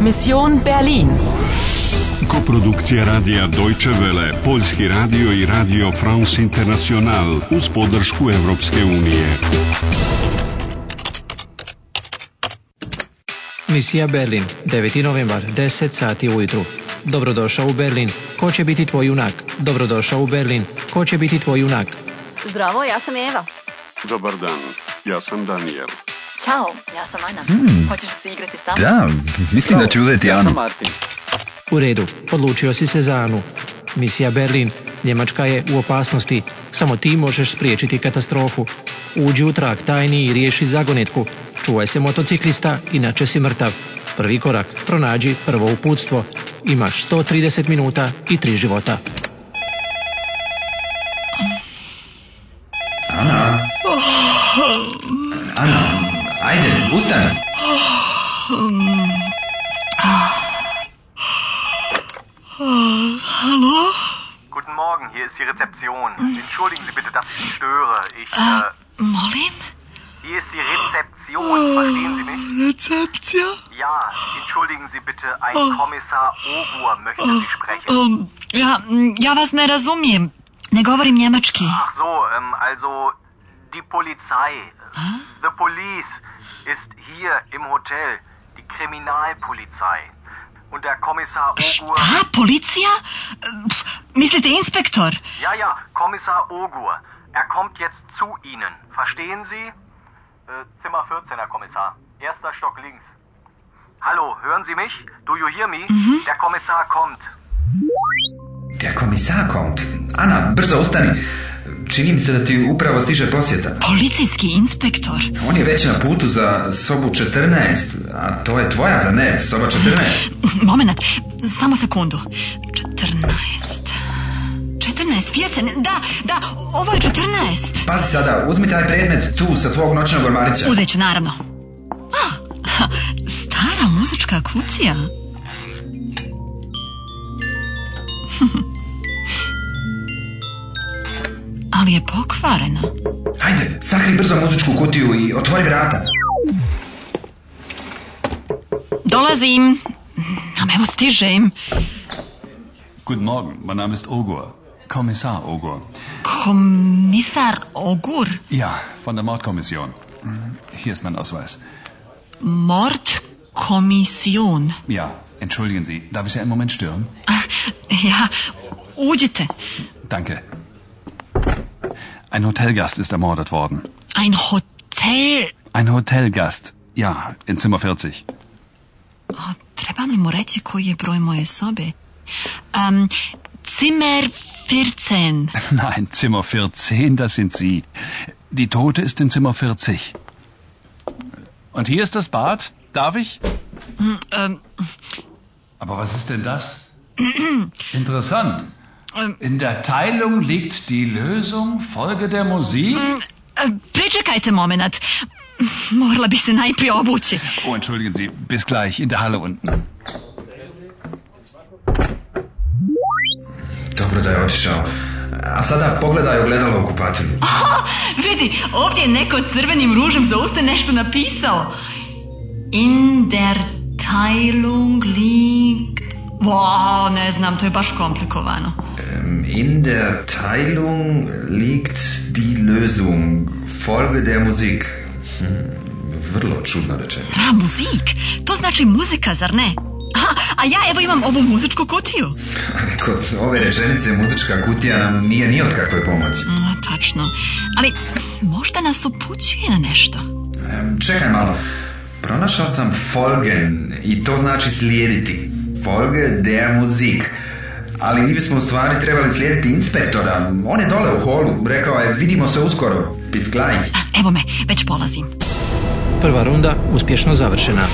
Mission Berlin. Koprodukcija radija Deutsche Welle, Poljski radio i radio France International uz podršku Europske unije. Misija Berlin, 9. novembar, 10 sati ujutru. Dobrodošao u Berlin. Ko će biti tvoj junak? Dobrodošao u Berlin. Ko će biti tvoj junak? Zdravo, ja sam Eva. Dobar dan, ja sam Daniel. Ćao, ja sam Ana. Hoćeš se igrati sa mnom? Da, mislim da ću uzeti Anu. U redu, odlučio si se za Anu. Misija Berlin, Njemačka je u opasnosti. Samo ti možeš spriječiti katastrofu. Uđi u trag tajni i riješi zagonetku. Čuvaj se motociklista, inače si mrtav. Prvi korak, pronađi prvo uputstvo. Imaš 130 minuta i tri života. Ana, ajde, ustan. Guten Morgen, hier ist die Rezeption. Entschuldigen Sie bitte, dass ich Sie störe. Ich, äh, Molim? hier ist die Rezeption, verstehen Sie mich? Rezepcija? Ja, entschuldigen Sie bitte, ein Kommissar Ogur möchte Sie sprechen. Um, ja, mm, ja vas ne razumijem. Ne govorim njemački. Ach so, ähm, also die Polizei, äh, the police, ist hier im Hotel, die Kriminalpolizei. Und der Kommissar Ogur... Šta? Policija? Pf, mislite inspektor? Ja, ja, Kommissar Ogur. Er kommt jetzt zu Ihnen. Verstehen Sie? Äh, Zimmer 14, Herr Kommissar. Erster Stock links. Hallo, hören Sie mich? Do you hear me? Der Kommissar kommt. Der Kommissar kommt. Ana, brzo ustani. Čini mi se da ti upravo stiže posjeta. Policijski inspektor? On je već na putu za sobu 14, a to je tvoja, za ne? Soba 14. Moment, samo sekundu. 14. 14, pjecen, da, da, ovo je 14. Pazi sada, uzmi taj predmet tu sa tvog noćnog ormarića. Uzet ću, naravno. Ah, ha, stara muzička kucija. Ali je pokvarena. Hajde, sakri brzo muzičku kutiju i otvori vrata. Dolazim. Nam evo stižem. Guten Morgen, mein Name ist Ogur. Kommissar Ogur. Komisar Ogur. Ja, von der Mordkommission. Mhm, Hier ist mein Ausweis. Mord komision. Ja, entschuldigen Sie, darf ich Sie einen Moment stören? Ah, Ja, uđite. Danke. Ein Hotelgast ist ermordet worden. Ein hotel. Ein Hotelgast. Ja, in Zimmer 40. O, trebam li mu reći koji je broj moje sobe? Um, Zimmer 14. Nein, Zimmer 14, das sind Sie. Die Tote ist in Zimmer 40. Und hier ist das Bad. Darf ich? Ähm. Aber was ist denn das? Interessant. In der Teilung liegt die Lösung. Folge der Musik. E, Pričekajte moment. Morala bih se najprije obući. Oh, entschuldigen Sie. Bis gleich in der Halle unten. Dobro da je otišao. A sada pogledaj ogledalo u kupatilu. Vidi, ovdje je neko crvenim ružem za usta nešto napisao. In der Teilung liegt... Wow, ne znam, to je baš komplikovano. In der Teilung liegt die Lösung. Folge der Musik. Hm, vrlo čudna rečenica. A, muzik. To znači muzika, zar ne? A, a ja evo imam ovu muzičku kutiju. Ali Kod ove rečenice muzička kutija nam nije ni od kakve pomoći. Mm, tačno. Ali možda nas upućuje na nešto. Em, Čekaj malo. Pronašao sam folgen i to znači slijediti. Folge der Musik. Ali mi bismo u stvari trebali slijediti inspektora. On je dole u holu. Rekao je vidimo se uskoro. Bis gleich. A, evo me, već polazim. Prva runda uspješno završena.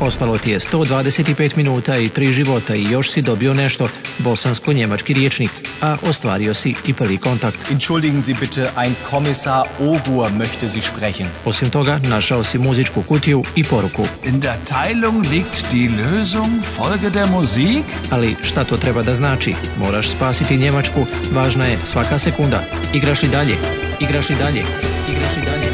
Ostalo ti je 125 minuta i tri života i još si dobio nešto, bosansko-njemački riječnik, a ostvario si i prvi kontakt. Entschuldigen Sie bitte, ein Kommissar Ogur möchte Sie sprechen. Osim toga, našao si muzičku kutiju i poruku. In der Teilung liegt die Lösung. Folge der Musik. Ali šta to treba da znači? Moraš spasiti Njemačku, važna je svaka sekunda. Igraš li dalje? Igraš li dalje? Igraš li dalje?